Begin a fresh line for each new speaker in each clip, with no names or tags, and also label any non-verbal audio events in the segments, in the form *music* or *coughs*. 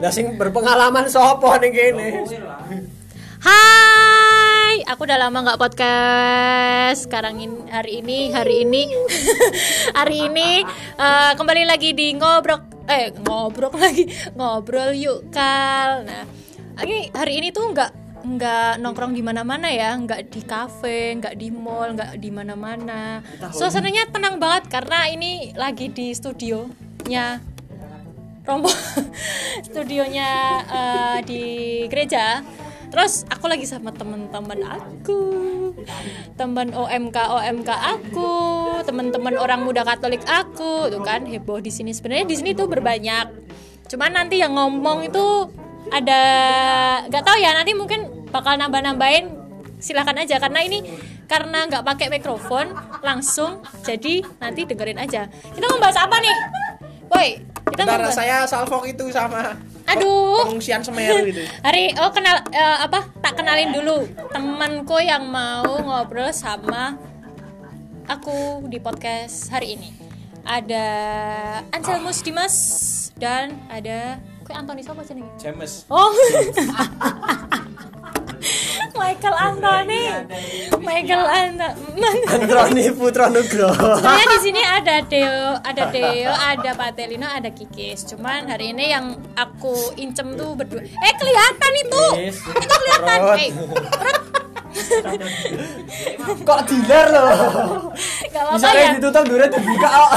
Lah sing berpengalaman sopo ning
Oh,
kene?
iya.
Hai, aku udah lama nggak podcast. Sekarang ini hari ini hari ini *laughs* hari ini eh, kembali lagi di ngobrol eh ngobrol lagi ngobrol yuk kal. Nah, ini hari ini tuh nggak nggak nongkrong di mana-mana ya, nggak di kafe, nggak di mall, nggak di mana-mana. Suasananya tenang banget karena ini lagi di studionya Rombo *laughs* studionya eh, di gereja. Terus aku lagi sama temen-temen aku, temen OMK OMK aku, temen-temen orang muda Katolik aku, tuh kan heboh di sini. Sebenarnya di sini tuh berbanyak. Cuman nanti yang ngomong itu ada nggak tahu ya nanti mungkin bakal nambah-nambahin silakan aja karena ini karena nggak pakai mikrofon langsung jadi nanti dengerin aja kita mau bahas apa nih woi kita mau
Bentar,
bahas-
saya salvo itu sama
Aduh.
pengungsian Semeru
*laughs*
itu.
Hari oh kenal eh, apa tak kenalin dulu temanku yang mau ngobrol sama aku di podcast hari ini ada Anselmus Dimas dan ada kue Antoni siapa sih
*laughs* James
Oh *laughs* Michael Antoni Michael Antoni
Androni Putra
*laughs*
Nugroho.
Sebenarnya di sini ada Deo, ada Deo, ada Patelino, ada Kikis. Cuman hari ini yang aku incem tuh berdua. Eh kelihatan itu.
Yes.
Itu kelihatan.
Perut.
Eh,
Kok dealer *laughs* loh.
gak apa-apa ya.
Misalnya gitu. ditutup durian dibuka.
*laughs*
oh.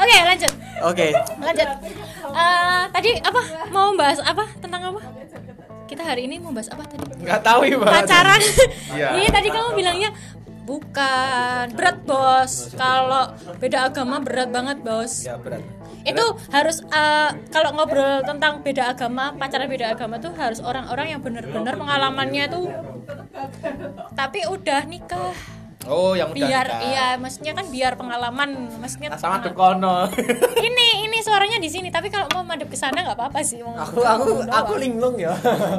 Oke, lanjut.
Oke.
Lanjut. Eh, tadi apa? Mau bahas apa? Tentang apa? Kita hari ini mau bahas apa tadi?
Enggak tahu ya, Bang.
pacaran
Iya.
iya tadi kamu bilangnya bukan berat bos kalau beda agama berat banget bos
Ya berat.
itu harus eh, kalau ngobrol tentang beda agama pacaran beda agama tuh harus orang-orang yang bener-bener pengalamannya tuh tapi udah nikah
oh yang udah
biar
nikah.
iya maksudnya kan biar pengalaman maksudnya ah,
Nah, sama Dukono
ini ini suaranya di sini tapi kalau mau madep ke sana nggak apa-apa sih mau
*laughs* Aku aku
ngomong
aku
doang.
linglung ya.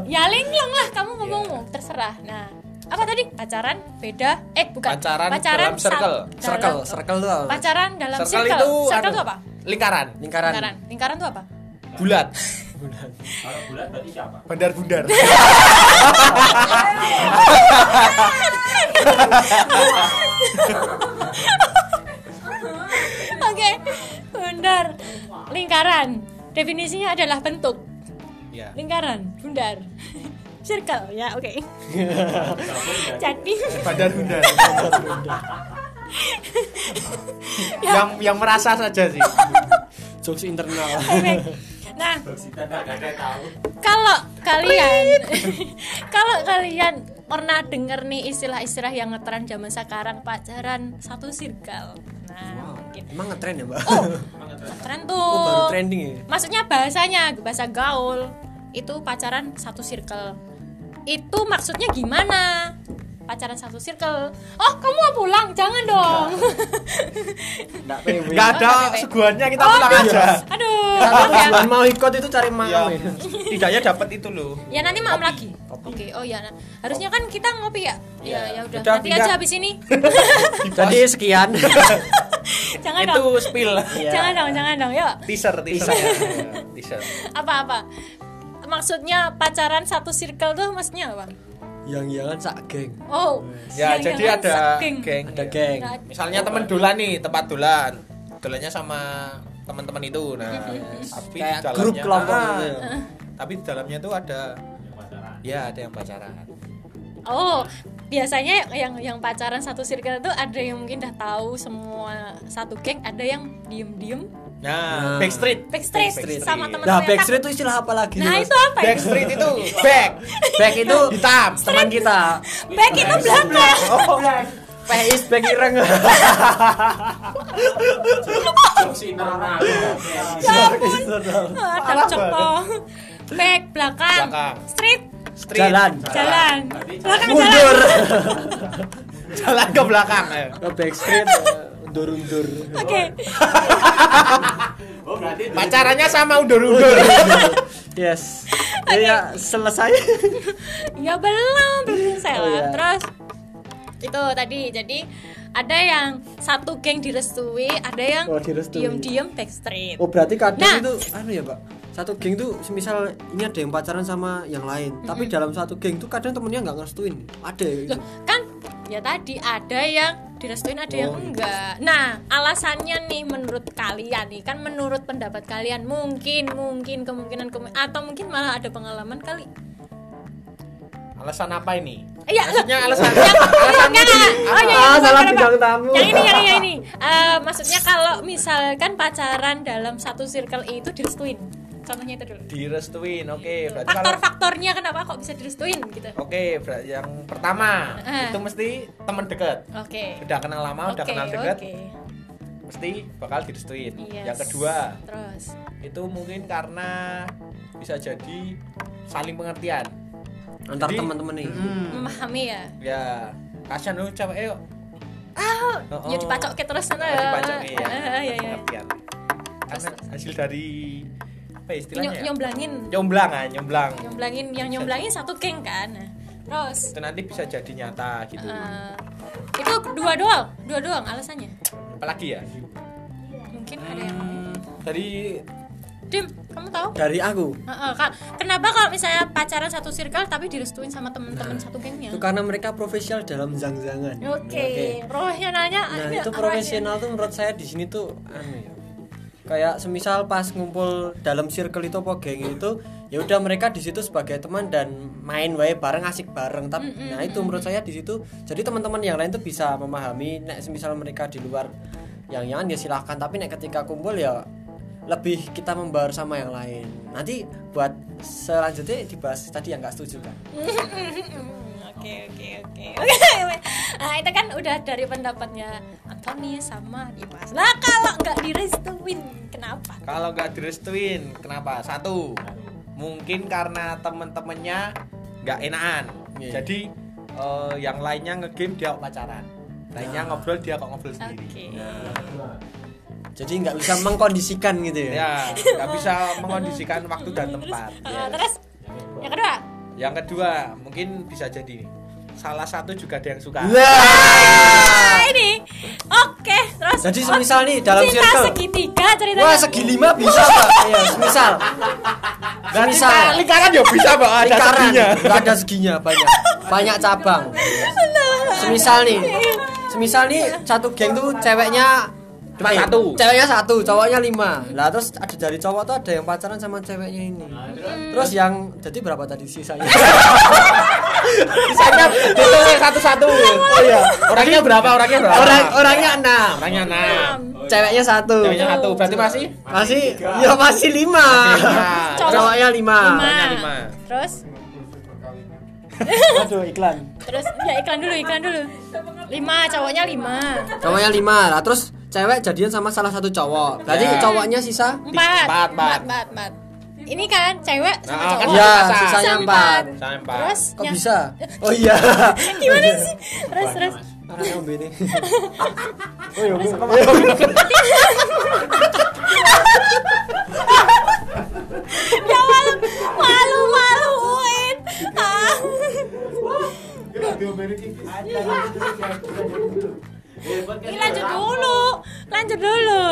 ya linglung lah kamu ngomongmu terserah nah apa tadi pacaran beda eh bukan
Pacaran dalam
sa-
circle.
dalam-
Circle, circle tuh. apa?
pacaran dalam circle
circle itu
circle
anu,
itu apa
lingkaran
Lingkaran.
lingkaran lingkaran itu apa
*laughs*
bulat *laughs*
Bundar-bundar.
oke bundar lingkaran definisinya adalah bentuk
ya
lingkaran bundar circle ya oke
*laughs*
jadi
badan bundar yang yang merasa saja sih
Jokes internal.
oke. nah kalau kalian *laughs* kalau kalian pernah denger nih istilah-istilah yang ngetren zaman sekarang pacaran satu circle nah mungkin
Emang ngetren ya, Mbak? *laughs*
oh ngetren tuh
Oh, baru trending ya.
maksudnya bahasanya bahasa gaul itu pacaran satu circle itu maksudnya gimana pacaran satu circle oh kamu mau pulang jangan dong
Enggak
nggak ada
Oke.
seguannya
Iya.
kita
Oh,
pulang aja
*laughs* aduh maaf
Iya.
ya
Kalau mau ikut itu cari mau
ya
ya.
tidaknya dapat itu loh
ya nanti maam lagi oke oh ya nah. harusnya kan kita ngopi ya ya ya udah
Iya. Udah,
nanti
pindah.
aja habis
*laughs*
ini
Jadi sekian.
jangan
itu
dong
spill
Iya.
jangan dong jangan dong yuk
*laughs* teaser teaser Iya, teaser
apa apa maksudnya pacaran satu circle tuh maksudnya apa
yang jangan sak geng.
oh
ya
yang-
jadi
yang
ada
saking.
geng
Ada geng.
Nah,
Nggak
misalnya temen dolan nih tempat dolan dolannya sama teman-teman itu
*laughs*
nah tapi
Kayak
di dalamnya-
grup kelompok
Ah,
gitu ya.
tapi di dalamnya tuh ada ya ada yang pacaran
Oh, biasanya yang yang pacaran satu circle itu ada yang mungkin udah tahu semua satu geng, ada yang diem-diem
nah
Nah.
backstreet
backstreet,
Backstreet.
sama teman
Nah, backstreet itu istilah apa lagi?
Nah,
nih, Mas?
itu apa ya?
backstreet
*laughs*
itu back
back
*laughs*
itu
hitam
teman
*laughs*
kita.
Back itu belakang.
Oh, back is back ireng.
Ya
Back is internal.
Ada cepo. Back belakang.
Belakang.
Street
Street.
Jalan.
jalan. Belakang jalan.
Mundur.
jalan ke belakang ayo.
Ke backstreet eh, undur-undur.
Oke.
Oh,
pacarannya sama undur-undur
Yes. Ya selesai.
Ya belum, belum selesai
Oh,
lah.
iya.
Terus itu tadi jadi ada yang satu geng direstui, ada yang
Oh, direstui.
diem-diem backstreet.
Oh, berarti kadang
Nah.
itu anu ya, Pak. satu geng tuh semisal ini ada yang pacaran sama yang lain tapi dalam satu geng tuh kadang temennya nggak ngerestuin ada ya gitu
Loh, kan ya tadi ada yang direstuin ada yang
Oh, iya.
enggak. Nah, alasannya nih menurut kalian nih kan menurut pendapat kalian mungkin mungkin kemungkinan kemu- atau mungkin malah ada pengalaman kali.
Alasan apa ini?
Iya,
Maksudnya alasan
enggak, enggak. Oh, iya, iya,
Ah, salah
kenapa?
bidang tamu.
Yang ini, yang ini, yang ini. Eh, maksudnya kalau misalkan pacaran dalam satu circle itu direstuin. Contohnya itu dulu.
direstuin. Oke, berarti kalau
Faktor-faktornya kenapa kok bisa direstuin gitu.
Oke, berarti yang pertama
Eh.
itu mesti teman dekat.
Oke.
Udah kenal lama, udah
Oke,
kenal dekat,
oke.
mesti bakal direstuin.
Yes.
Yang kedua,
Terus.
itu mungkin karena bisa jadi saling pengertian.
antar
Jadi-
teman-teman nih
memahami ya
Ya, kasihan lu cewek yuk.
ah
Oh,
ya
oh.
dipacok ke terus sana ya
Dipacok ya.
Ah, ya, ya.
Pengertian. Karena
Terus,
hasil dari apa ya
Nyom-
istilahnya? ya?
nyomblangin
Nyomblang ah, nyomblang.
nyomblangin yang nyomblangin satu geng kan Nah, terus
Itu nanti bisa jadi nyata gitu.
eh, itu dua doang dua doang alasannya
Apalagi ya?
mungkin ada yang
Tadi
dim kamu tahu
dari aku
Heeh, Kak. kenapa kalau misalnya pacaran satu circle tapi direstuin sama
Nah,
temen-temen satu
itu
gengnya oke
karena mereka profesional dalam zang-zangan
profesionalnya
Nah
ada
itu
apa
profesional tuh menurut saya di sini tuh anu ya. Kayak semisal pas ngumpul dalam circle itu apa geng itu ya udah mereka di situ sebagai teman dan main wae bareng asik bareng tapi nah itu menurut saya di situ jadi teman-teman yang lain tuh bisa memahami nek semisal mereka di luar yang yang ya silahkan tapi nek ketika kumpul ya lebih kita membaur sama yang lain nanti buat selanjutnya dibahas tadi yang nggak setuju kan
Oke oke oke. *laughs* Oke. Nah, itu kan udah dari pendapatnya Anthony sama Dimas. Nah, kalau nggak direstuin kenapa?
Kalau nggak direstuin, kenapa? Satu, mungkin karena temen-temennya nggak enakan.
Iya.
Jadi eh, yang lainnya ngegame dia kok pacaran, lainnya ngobrol dia kok ngobrol
Oke.
sendiri.
jadi nggak bisa mengkondisikan gitu ya
Ya, nggak bisa mengondisikan waktu dan tempat.
Terus,
Yes.
uh, terus yang kedua.
Yang kedua, mungkin bisa jadi salah satu juga ada yang suka.
Nah, ini. Oke, terus
Jadi semisal nih, dalam
cinta
circle.
segitiga ceritanya.
Wah segi lima bisa pak Iya semisal Semisal
lingkaran ya bisa pak, ada
Lingkaran
satunya.
Nggak ada seginya banyak Banyak cabang Semisal nih Semisal nih satu geng tuh ceweknya
Cuma satu.
Ceweknya satu, cowoknya lima Lah terus ada dari cowok tuh ada yang pacaran sama ceweknya ini Terus yang, jadi berapa tadi sisanya?
Misalnya *laughs* ditolong satu-satu.
oh iya
Orangnya berapa? Orangnya berapa?
Orang, Orangnya enam
Orangnya
Ah,
enam.
Ceweknya satu
Ceweknya satu, berarti masih
Masih, ya masih lima
Masih lima.
Cowok.
Cowoknya lima
lima.
lima.
Terus
Aduh iklan
terus ya iklan dulu, iklan dulu. Lima, cowoknya lima.
Cowoknya lima lah, terus cewek jadian sama salah satu cowok. Berarti
Ya.
cowoknya sisa?
Empat.
Empat, empat.
empat, empat. Ini kan cewek sama
Nah, kan
cowok.
Iya,
masa?
sisanya
Sisa
empat.
empat.
Sampai empat.
Terus
Kok
yang-
bisa? Oh
*laughs*
iya.
gimana sih terus terus
Arah ngombe nih.
ya malu malu maluin ah Iya, ini lanjut dulu lanjut dulu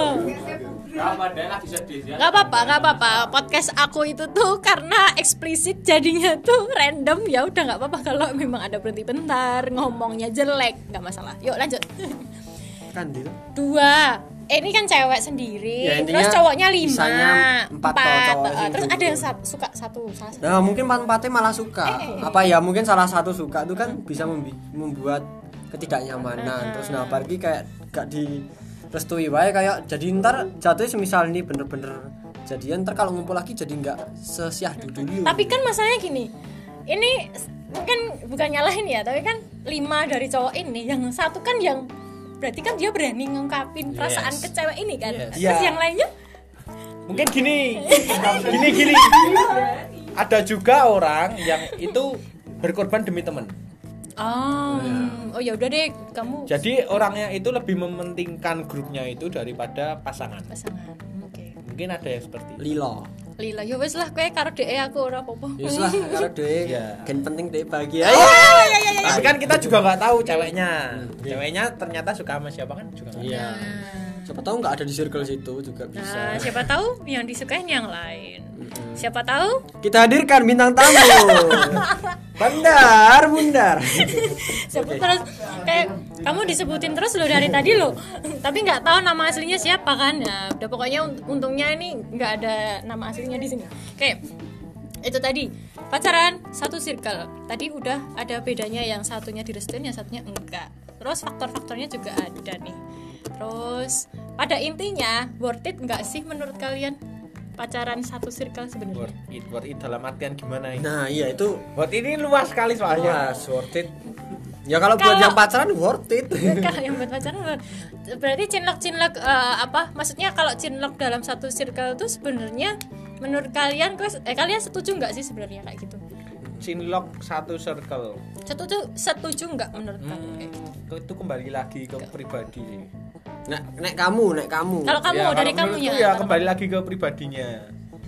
nggak apa-apa nggak apa-apa podcast aku itu tuh karena eksplisit jadinya tuh random ya udah nggak apa-apa kalau memang ada berhenti bentar ngomongnya jelek nggak masalah yuk lanjut
Kan gitu.
dua eh, ini kan cewek sendiri
Ya, intinya
terus cowoknya lima
sisanya empat cowok-cowok
eh, terus
sendiri.
ada yang sa- suka satu salah satu
Nah, mungkin empat-empatnya malah suka.
Eh.
Apa ya? Mungkin salah satu suka itu kan bisa membi- membuat
Ah.
ketidaknyamanan. Terus nah, apalagi kayak gak di restui wae kayak jadi ntar jatuhnya semisal ini bener-bener jadian ntar kalau ngumpul lagi jadi nggak sesiah dulu
tapi kan masalahnya gini ini s- mungkin bukan nyalahin ya tapi kan lima dari cowok ini yang satu kan yang berarti kan dia berani ngungkapin perasaan ke cewek ini kan
Yes.
terus
Iya.
yang lainnya
Mungkin *laughs* gini. Gini gini. Ada juga orang yang itu berkorban demi teman.
oh oh ya udah deh kamu
Jadi orangnya itu lebih mementingkan grupnya itu daripada pasangan.
pasangan oke
Mungkin ada yang seperti itu.
Lilo
lila ya wes lah kue karo deh aku ora apa-apa Ah, ya,
Yus Ya
*laughs*
lah karo dhewe.
Iya.
Gen penting dhewe bahagia.
Iya.
Tapi kan kita juga nggak tahu ceweknya. Ceweknya ternyata suka sama siapa kan juga nggak tahu.
Iya.
Nah,
siapa tahu nggak ada di circle situ juga bisa
Nah, siapa tahu yang disukain yang lain. Siapa tahu?
kita hadirkan bintang
*laughs*
tamu bandar bundar
Sebut terus kayak kamu disebutin terus loh dari tadi loh. Tapi nggak tahu nama aslinya siapa kan. Nah, udah pokoknya un- untungnya ini nggak ada nama aslinya di sini. Kayak itu tadi pacaran satu circle. Tadi udah ada bedanya yang satunya direstuin, yang satunya enggak. Terus faktor-faktornya juga ada nih. Terus pada intinya worth it nggak sih menurut kalian pacaran satu circle sebenarnya?
worth it worth it dalam artian gimana ini
nah iya itu
worth it ini luas sekali soalnya
ya worth it ya kalau buat
Kalau-
yang pacaran worth it
kalau yang buat pacaran bukan. berarti cinlok cinlok apa maksudnya kalau cinlok dalam satu circle itu sebenarnya menurut kalian guys, eh, kalian setuju nggak sih sebenarnya kayak gitu
cinlok satu circle
setuju setuju nggak menurut kalian
Hmm.
Hmm.
kayak gitu?
itu, itu kembali lagi ke pribadi sih.
nek nek kamu nek kamu
kalau kamu
Ya,
dari kamu
kalau
ya
menurutku kembali lagi ke pribadinya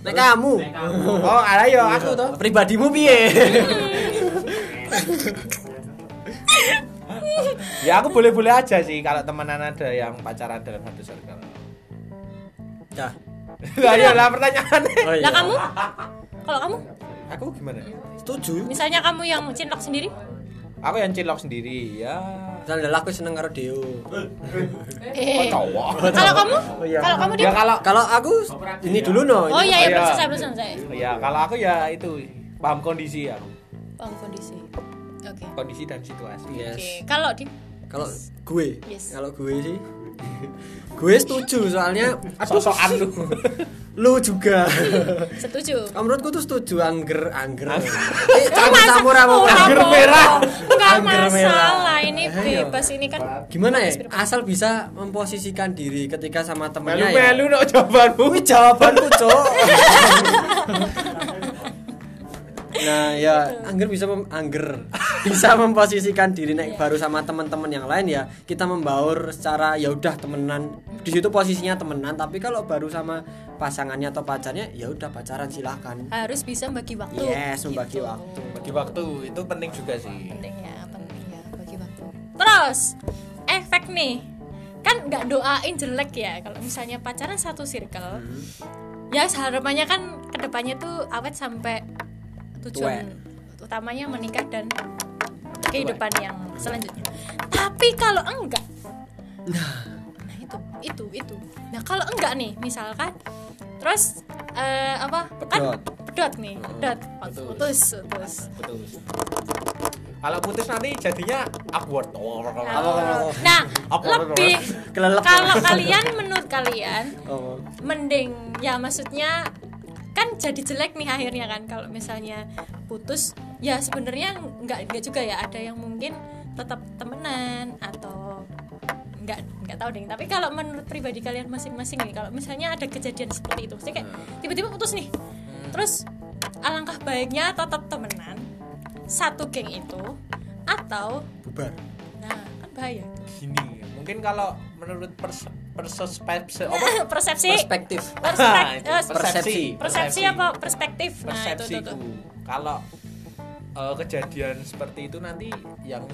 nek kamu
oh ayo aku toh
pribadimu piye
ya aku boleh boleh aja sih kalau temenan ada yang pacaran dalam satu circle
*laughs*
*laughs*
Dah.
lah iyalah pertanyaannya
Oh, iya.
lah kamu kalau kamu
aku gimana
setuju
misalnya kamu yang cinlok sendiri
aku yang cilok sendiri ya
misalnya aku seneng karo Deo
Oh.
kok
eh
cowok
kalau kamu kalau kamu dia
iya. ya kalau
kalau aku ini dulu no
oh iya
ini-
iya
Iya.
belum selesai belum selesai
ya kalau aku ya itu paham kondisi ya
paham kondisi oke
kondisi dan situasi
yes
iya. oke kalau di
kalau gue
Yes.
kalau gue sih *laughs* gue setuju soalnya aduh
sosokan lu
lu juga *laughs*
setuju
Kalau menurutku tuh setuju angger angger. Eh, campur campur apa
Oh,
Pak?
Angger
Prabowo.
merah.
Enggak
Angger
masalah
merah.
ini
Ayo.
bebas ini kan
Gimana ya? Asal bisa memposisikan diri ketika sama
melu
temennya
melu
ya.
no jawabanmu
Wih jawabanku
*laughs*
cok. nah ya angger bisa mem- angger bisa memposisikan diri naik baru sama teman-teman yang lain ya kita membaur secara ya udah temenan di situ posisinya temenan tapi kalau baru sama pasangannya atau pacarnya ya udah pacaran silahkan
harus bisa bagi waktu.
yes membagi waktu
bagi waktu itu penting juga sih
Penting ya, penting ya bagi waktu. Terus efek nih kan nggak doain jelek ya kalau misalnya pacaran satu circle ya harapannya kan kedepannya tuh awet sampai tujuan utamanya menikah dan kehidupan yang selanjutnya tapi kalau enggak nah itu itu itu nah kalau enggak nih misalkan terus eh, apa
Pedot.
kan pedot nih pedot
putus.
putus putus
betul kalau putus nanti jadinya upward
Apa, apa, apa? kan
nah
Apa, apa, apa?
lebih
Kelelep.
kalau kalian menurut kalian
Oh.
mending ya maksudnya kan jadi jelek nih akhirnya kan kalau misalnya putus ya sebenarnya nggak nggak juga ya ada yang mungkin tetap temenan atau nggak nggak tahu deh tapi kalau menurut pribadi kalian masing-masing nih kalau misalnya ada kejadian seperti itu sih kayak
Hmm.
tiba-tiba putus nih terus alangkah baiknya tetap temenan satu geng itu atau
bubar
nah kan bahaya
gini mungkin kalau menurut perse perses perse apa?
*laughs* Nah, persepsi
perspektif
Perspek- eh,
Ah, *laughs* itu
persepsi.
persepsi apa perspektif nah itu tuh,
persepsiku
tuh.
kalau eh, kejadian seperti itu nanti yang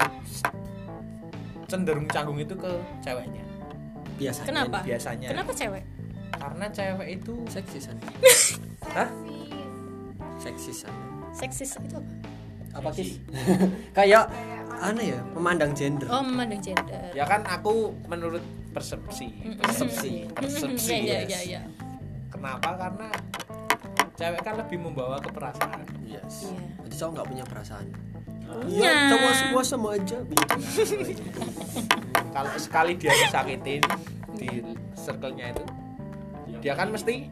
cenderung canggung itu ke ceweknya
biasanya
kenapa
biasanya.
kenapa cewek
karena cewek itu
*laughs*
seksisan
hah
seksisan
seksis itu apa
apa sih kayak aneh ya memandang gender
oh memandang gender
ya kan aku menurut persepsi
persepsi
persepsi
ya
yes.
ya ya
kenapa karena cewek kan lebih membawa ke perasaan
yes
Iya.
jadi cowok nggak punya perasaan
Iya.
Iya, cowok semua sama aja gitu. Nah,
kalau sekali dia disakitin di circle-nya itu dia kan mesti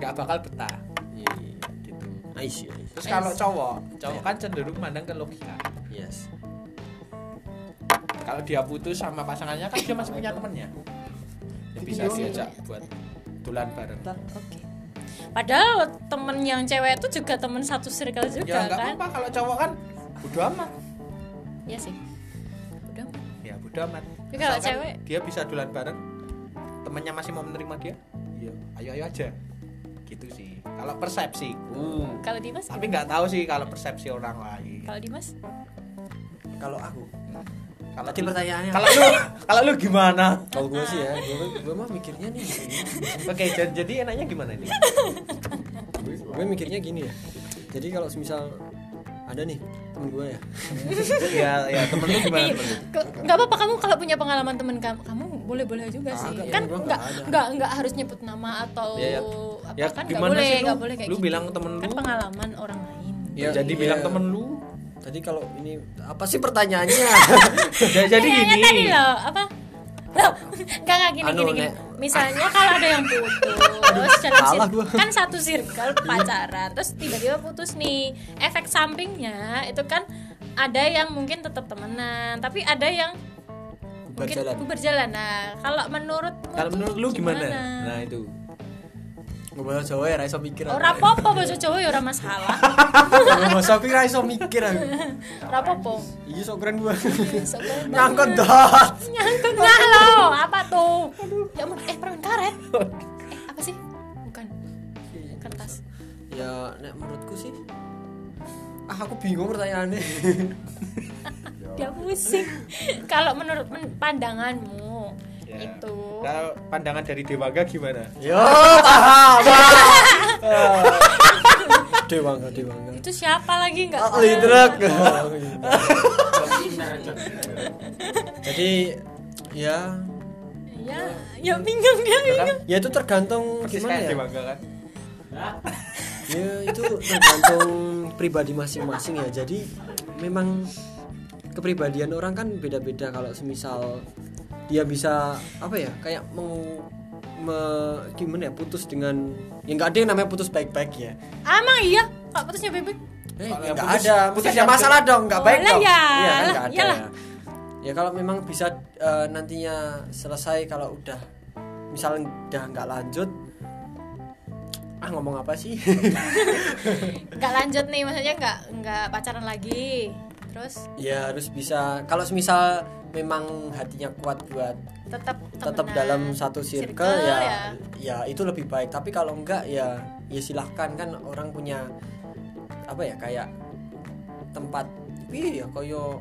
nggak bakal betah
Iya, gitu nice ya nice.
terus kalau cowok cowok kan cenderung mandang ke logika
yes
kalau dia putus sama pasangannya kan dia masih punya temennya Ya, bisa diajak buat tulan bareng Ya
oke padahal temen yang cewek itu juga temen satu circle
ya
juga
nggak
kan
apa-apa kalau cowok kan bodo amat
ya sih udah
ya bodo amat
Tapi kalau
Misalkan
cewek-
dia bisa dulan bareng temennya masih mau menerima dia iya ayo ayo aja gitu sih kalau persepsi
Hmm,
kalau Dimas
tapi nggak tahu sih kalau persepsi orang lain
kalau Dimas
kalau aku
Kalau
Tadi
lu-
pertanyaannya
Kalau lu kalau lu gimana?
kalau gue sih ya
Ah.
gue gue mah mikirnya nih gini.
Oke, jadi, jadi enaknya gimana ini?
gue mikirnya gini ya jadi kalau semisal ada nih temen gue ya
ya ya temen lu gimana temen lu?
Ke- nggak apa-apa kamu kalau punya pengalaman temen kamu kamu boleh boleh juga
Ah,
sih
Kagak,
kan
gua nggak
nggak
ada.
nggak nggak harus nyebut nama atau
Ya, ya.
apa
Ya,
kan nggak
gimana
boleh
sih lu?
nggak boleh kayak
Lu
gitu.
bilang temen
kan
lu.
pengalaman orang lain
Ya,
jadi
iya.
bilang temen lu.
tadi kalau ini apa sih pertanyaannya
Ya, jadi
Pertanyaannya
gini.
Iya, tadi loh apa Loh, nggak nggak gini
Anu,
gini, gini.
Nek.
Misalnya kalau ada yang putus dalam
salah
sir-
gua.
kan satu circle pacaran, terus tiba-tiba putus nih. Efek sampingnya itu kan ada yang mungkin tetap temenan, tapi ada yang mungkin
berjalan
berjalan. Nah, kalau menurutmu
Kalau
tuh
menurut lu gimana? Nah, itu.
gue bahasa Jawa ya raiso mikir aku.
Ora apa-apa Oh, bahasa Jawa ya ora masalah.
*laughs*
Ngomong bahasa aku raiso mikir aku
Ora apa-apa.
iya sok keren gue
Sopo-
Nah,
nyangkut dot
Nyangkut nggak lo? Apa tuh? Ya ampun, eh permen karet. Eh, apa sih? Bukan. Kertas.
ya nek menurutku sih ah aku bingung pertanyaannya
Dia Ya pusing. *laughs* Kalau menurut men- pandanganmu
Ya.
itu
Kalau pandangan dari Dewaga gimana?
yo paham Ah. dewa enggak dewa enggak
itu siapa lagi nggak?
Ah, lidrak. jadi ya
Ya, ya bingung dia bingung.
ya itu tergantung
Persis
gimana
kayak
ya
Dewaga kan?
ya itu tergantung pribadi masing-masing ya jadi memang kepribadian orang kan beda-beda kalau semisal dia bisa apa ya kayak mau me- gimana ya putus dengan ya nggak ada yang namanya putus baik-baik ya
Amang iya, kok putusnya bebek.
Eh,
Kalau
ya nggak
putus-
ada
putus
putus ya
yang-
masalah dong nggak
Oh,
baik
lah
dong
ya,
iya kan
lah,
nggak ada
iyalah.
ya ya kalau memang bisa eh, nantinya selesai kalau udah misalnya udah nggak lanjut ah ngomong apa sih *laughs*
Nggak lanjut nih, maksudnya nggak nggak pacaran lagi. Terus
ya harus bisa kalau semisal memang hatinya kuat buat
tetap
tetap
temenan.
dalam satu circle, ya, ya itu lebih baik tapi kalau enggak ya ya silahkan kan orang punya apa ya kayak tempat iya koyo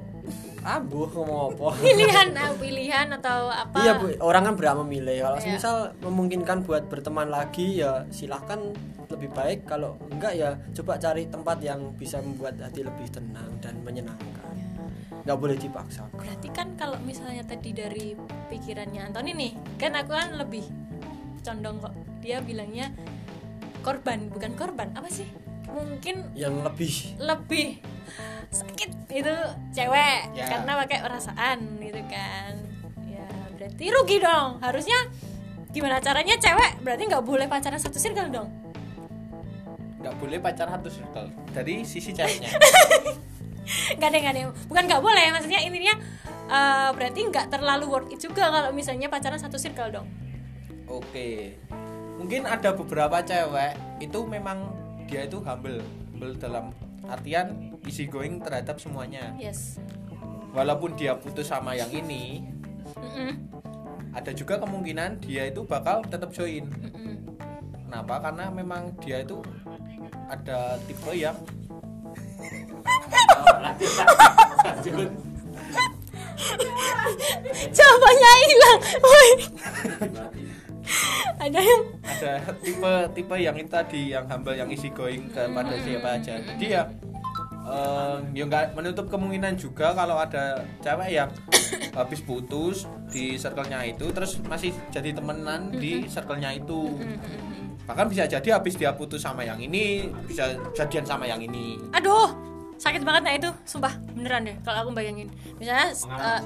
abuh ngomong apa *laughs*
pilihan ah, pilihan atau apa
iya bu orang kan berhak memilih kalau
Iya.
semisal memungkinkan buat berteman lagi ya silahkan lebih baik kalau enggak ya coba cari tempat yang bisa membuat hati lebih tenang dan menyenangkan nggak boleh dipaksa
berarti kan kalau misalnya tadi dari pikirannya Anthony nih kan aku kan lebih condong kok dia bilangnya korban bukan korban apa sih mungkin
yang lebih
lebih sakit itu cewek
Ya.
karena pakai perasaan gitu kan ya berarti rugi dong harusnya gimana caranya cewek berarti nggak boleh pacaran satu circle dong *laughs*
Nggak boleh pacaran satu circle dari sisi ceweknya.
nggak ada nggak ada bukan nggak boleh maksudnya intinya eh, berarti nggak terlalu worth it juga kalau misalnya pacaran satu circle dong
Oke. Mungkin ada beberapa cewek itu memang dia itu humble, humble dalam artian easy going terhadap semuanya.
yes
Walaupun dia putus sama yang ini,
Mm-mm,
ada juga kemungkinan dia itu bakal tetap join.
mm-mm.
Kenapa? Karena memang dia itu ada tipe yang
*laughs* jawabannya hilang
*laughs*
Woi. ada yang
ada *laughs* tipe tipe yang itu tadi yang humble yang easy going kepada siapa aja. Jadi ya eh, ya nggak menutup kemungkinan juga kalau ada cewek yang *coughs* habis putus di circle-nya itu terus masih jadi temenan di circle-nya itu. Bahkan bisa jadi habis dia putus sama yang ini bisa jadian sama yang ini.
aduh sakit banget nah itu sumpah beneran deh kalau aku bayangin misalnya eh,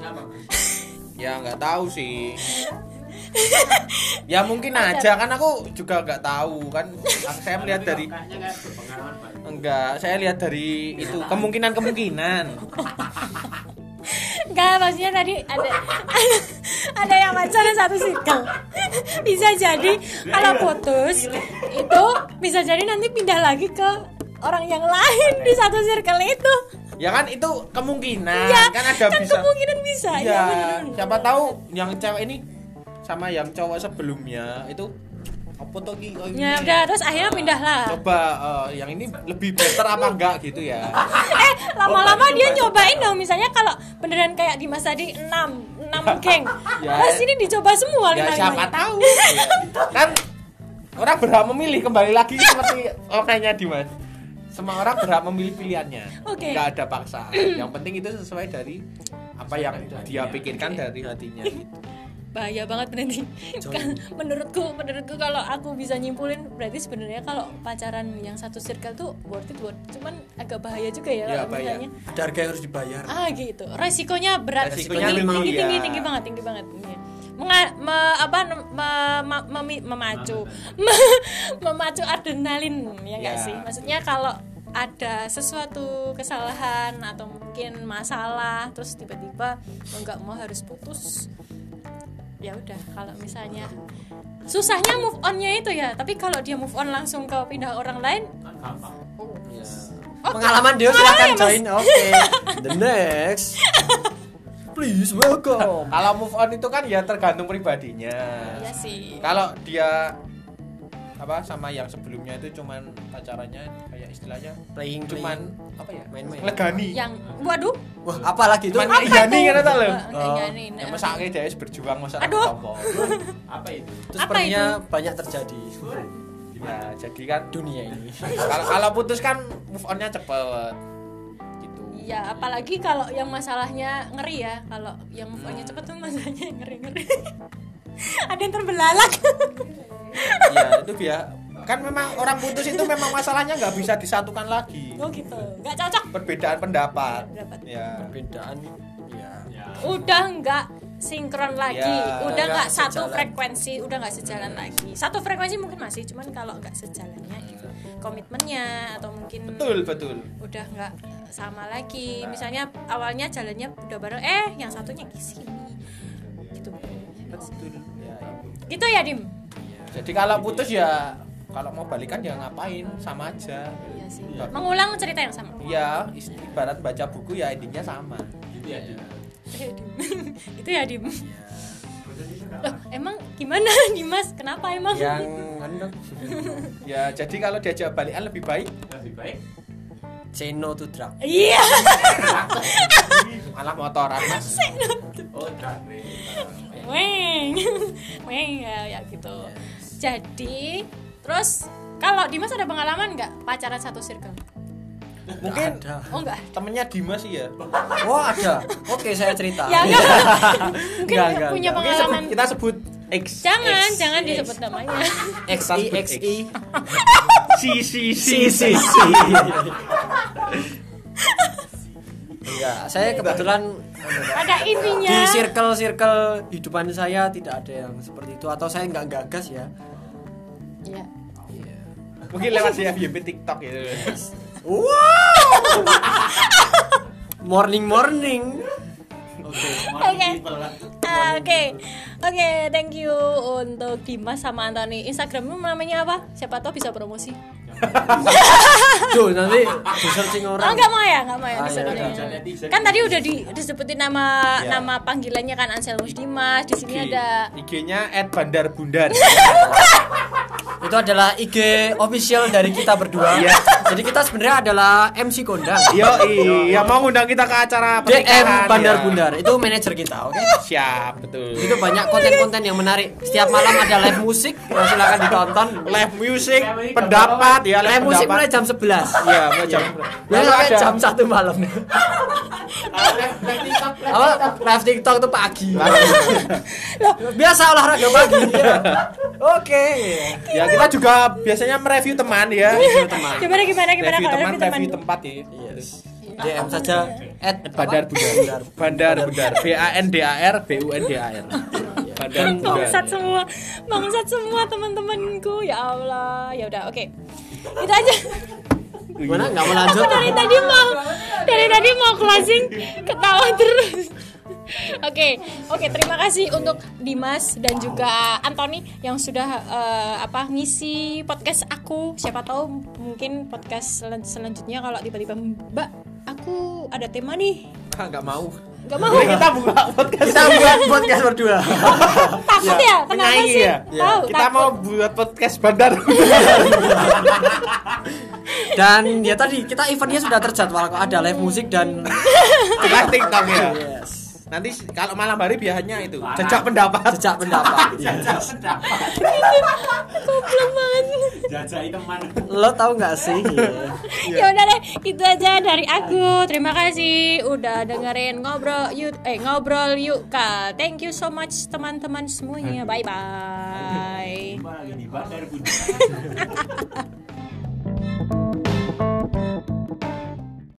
Ya nggak tahu sih.
*laughs*
ya mungkin aja kan aku juga nggak tahu kan saya melihat dari enggak saya lihat dari itu kemungkinan kemungkinan
Enggak, maksudnya tadi ada *laughs* ada, ada yang pacaran satu circle. *laughs* Bisa jadi kalau putus itu bisa jadi nanti pindah lagi ke orang yang lain di satu circle itu.
ya kan itu kemungkinan
Iya,
kan ada
kan
bisa
kemungkinan bisa.
Iya,
Iya, bener.
siapa tahu yang cewek ini sama yang cowok sebelumnya itu apa tuh ki Oh, ini.
Ya udah terus akhirnya
Ah,
pindah lah.
coba eh, yang ini lebih better apa enggak gitu ya
Eh, lama-lama
Oh,
dia
coba,
nyobain dong. Misalnya kalau beneran kayak di Mas Adi 6, 6 geng.
Ya.
Mas ini dicoba semua
ya
lima-limanya.
siapa tahu Ya. kan orang berhak memilih kembali lagi seperti orangnya Dimas semua orang berhak memilih pilihannya
Oke.
nggak ada paksaan yang penting itu sesuai dari apa yang dia pikirkan dari hatinya gitu.
bahaya banget berarti Kan, menurutku menurutku kalau aku bisa nyimpulin berarti sebenarnya kalau pacaran yang satu circle tuh worth it worth it. cuman agak bahaya juga ya,
Ya,
kalau
bahaya.
misalnya
ada harga yang harus dibayar
ah gitu resikonya berat
Resikonya
tinggi,
memang
tinggi,
iya.
tinggi tinggi banget tinggi banget Iya. Menga- me- apa nem- me- ma- memi- memacu Me- *laughs* memacu adrenalin ya nggak
Ya.
sih maksudnya kalau ada sesuatu kesalahan atau mungkin masalah terus tiba-tiba mau nggak mau harus putus ya udah kalau misalnya susahnya move onnya itu ya tapi kalau dia move on langsung ke pindah orang lain
Ya.
pengalaman dia
Pengalaman
silahkan
Oh, ya, Mas.
join oke the next please welcome
kalau move on itu kan ya tergantung pribadinya
ya sih
kalau dia apa sama yang sebelumnya itu cuman pacarannya kayak istilahnya
playing
cuman
cuman
apa ya
Main-main.
legani
yang waduh
wah apalagi itu
Cuman Apa Iya, nih, karena tak lo.
Nggak, nggak, nih,
ya
nggak.
masa akhirnya dia berjuang masa
Aduh.
kelompok.
apa itu
itu
Apa
sepertinya banyak terjadi
ya jadi kan
dunia ini
kalau kalau putus kan move onnya cepet gitu
Iya, apalagi kalau yang masalahnya ngeri ya. Kalau yang move on-nya cepet tuh masalahnya yang ngeri-ngeri. *laughs* Ada yang terbelalak.
ya itu biar kan memang orang putus itu memang masalahnya nggak bisa disatukan lagi
*laughs* oh gitu. nggak cocok.
perbedaan pendapat
Pendapat.
ya
perbedaan ya
ya
Udah nggak sinkron lagi. udah Iya,
Ya,
nggak Hmm.
nggak
satu
sejalan.
frekuensi, udah nggak sejalan lagi. Satu frekuensi mungkin masih, cuman kalau nggak sejalannya gitu. Komitmennya atau mungkin
betul betul
udah nggak sama lagi. Misalnya awalnya jalannya udah bareng, eh yang satunya ke sini. Gitu.
betul ya, itu.
Gitu ya, Dim.
jadi kalau putus ya kalau mau balikan ya ngapain sama aja
Iya sih.
Iya.
Mengulang cerita yang sama.
ya is- ibarat baca buku ya endingnya sama
gitu ya Dim.
Eh, Dim. *laughs* itu ya Dim Loh, emang gimana *laughs* Dimas kenapa emang
yang anu dong,
ya jadi kalau diajak balikan lebih baik
lebih baik
say no to drug
iya
malah motoran mas
oh drag race.
weng *laughs* weng ya, ya gitu jadi terus kalau Dimas ada pengalaman nggak pacaran satu circle
mungkin
ada
oh enggak
temennya Dimas sih ya
oh ada oke saya cerita
ya
*laughs*
enggak mungkin
Ah. Nggak, nggak,
punya
nggak.
Mungkin sebut-
pengalaman
kita sebut X
jangan
X.
jangan disebut namanya
*laughs* XI XI
si si si
si si
*laughs*
si ya saya kebetulan anu,
pada intinya
di circle circle hidupan saya tidak ada yang seperti itu atau saya nggak gagas ya
Iya.
mungkin lewat si FYP TikTok gitu
wow morning morning
oke
Oke.
morning people lah.
Ah, Oke, oke, thank you untuk Dimas sama Anthony. Instagrammu namanya apa? Siapa tahu bisa promosi.
tuh nanti di searching
Oh
orang
enggak mau ya, enggak mau ya.
Ah,
bisa
iya,
dulu ya.
jangan netizen.
Kan tadi udah di- disebutin nama
Iya.
nama panggilannya kan Anselmus Dimas. Di sini
IG.
ada
IG-nya at bandar
*laughs*
bundar
itu adalah IG official dari kita berdua
Iya.
jadi kita sebenarnya adalah MC kondang
yo iya mau ngundang kita ke acara
DM
pernikahan,
Bandar
ya.
Bundar itu manajer kita oke
siap betul
itu banyak konten-konten yang menarik setiap malam ada live musik ya, silakan ditonton
live music
Siapa ini?
pendapat ya
live musik mulai jam 11
ya mulai jam
mulai
Lalu
sampai
ada-
jam 1 malam
Ah, live- live TikTok, live
apa
TikTok.
live TikTok itu pagi biasa olahraga pagi
Iya.
ya. oke
ya kita juga biasanya mereview teman ya
Iya,
teman
gimana gimana gimana
review
kalau
teman
review teman.
review tempat ya
yes DM saja at
bandar
apa?
bundar *laughs* bandar bundar B A N D A R B U N D A R bandar bundar
*laughs* Bangsat semua, bangsat semua teman-temanku. Ya Allah, ya udah oke. Itu aja.
gimana nggak mau
Aku
lanjut
dari tadi mau dari tadi mau closing ketawa terus. Oke, oke terima kasih untuk Dimas dan juga Anthony yang sudah eh, apa ngisi podcast aku. Siapa tahu mungkin podcast selan- selanjutnya kalau tiba-tiba Mbak aku ada tema nih
Ah, nggak mau
Gak mau.
Boleh kita buka podcast
Kita buat podcast berdua.
Takut ya? Kenapa
penyanyi
sih?
Iya. ya?
Iya.
Tahu,
Kita
takut.
mau buat podcast bandar.
Dan ya tadi kita eventnya sudah terjadwal kok ada live musik dan
Kita TikTok ya.
yes.
Nanti s- kalau malam hari biasanya itu jejak pendapat.
jejak pendapat.
Jajah pendapat.
Goblok banget.
Jajahi teman.
Lo tahu nggak sih? Iya.
ya udah deh, itu aja dari aku. Terima kasih udah dengerin ngobrol yuk eh ngobrol yuk Kak. Thank you so much teman-teman semuanya. Bye bye.
Cuma lagi di bandar Budi.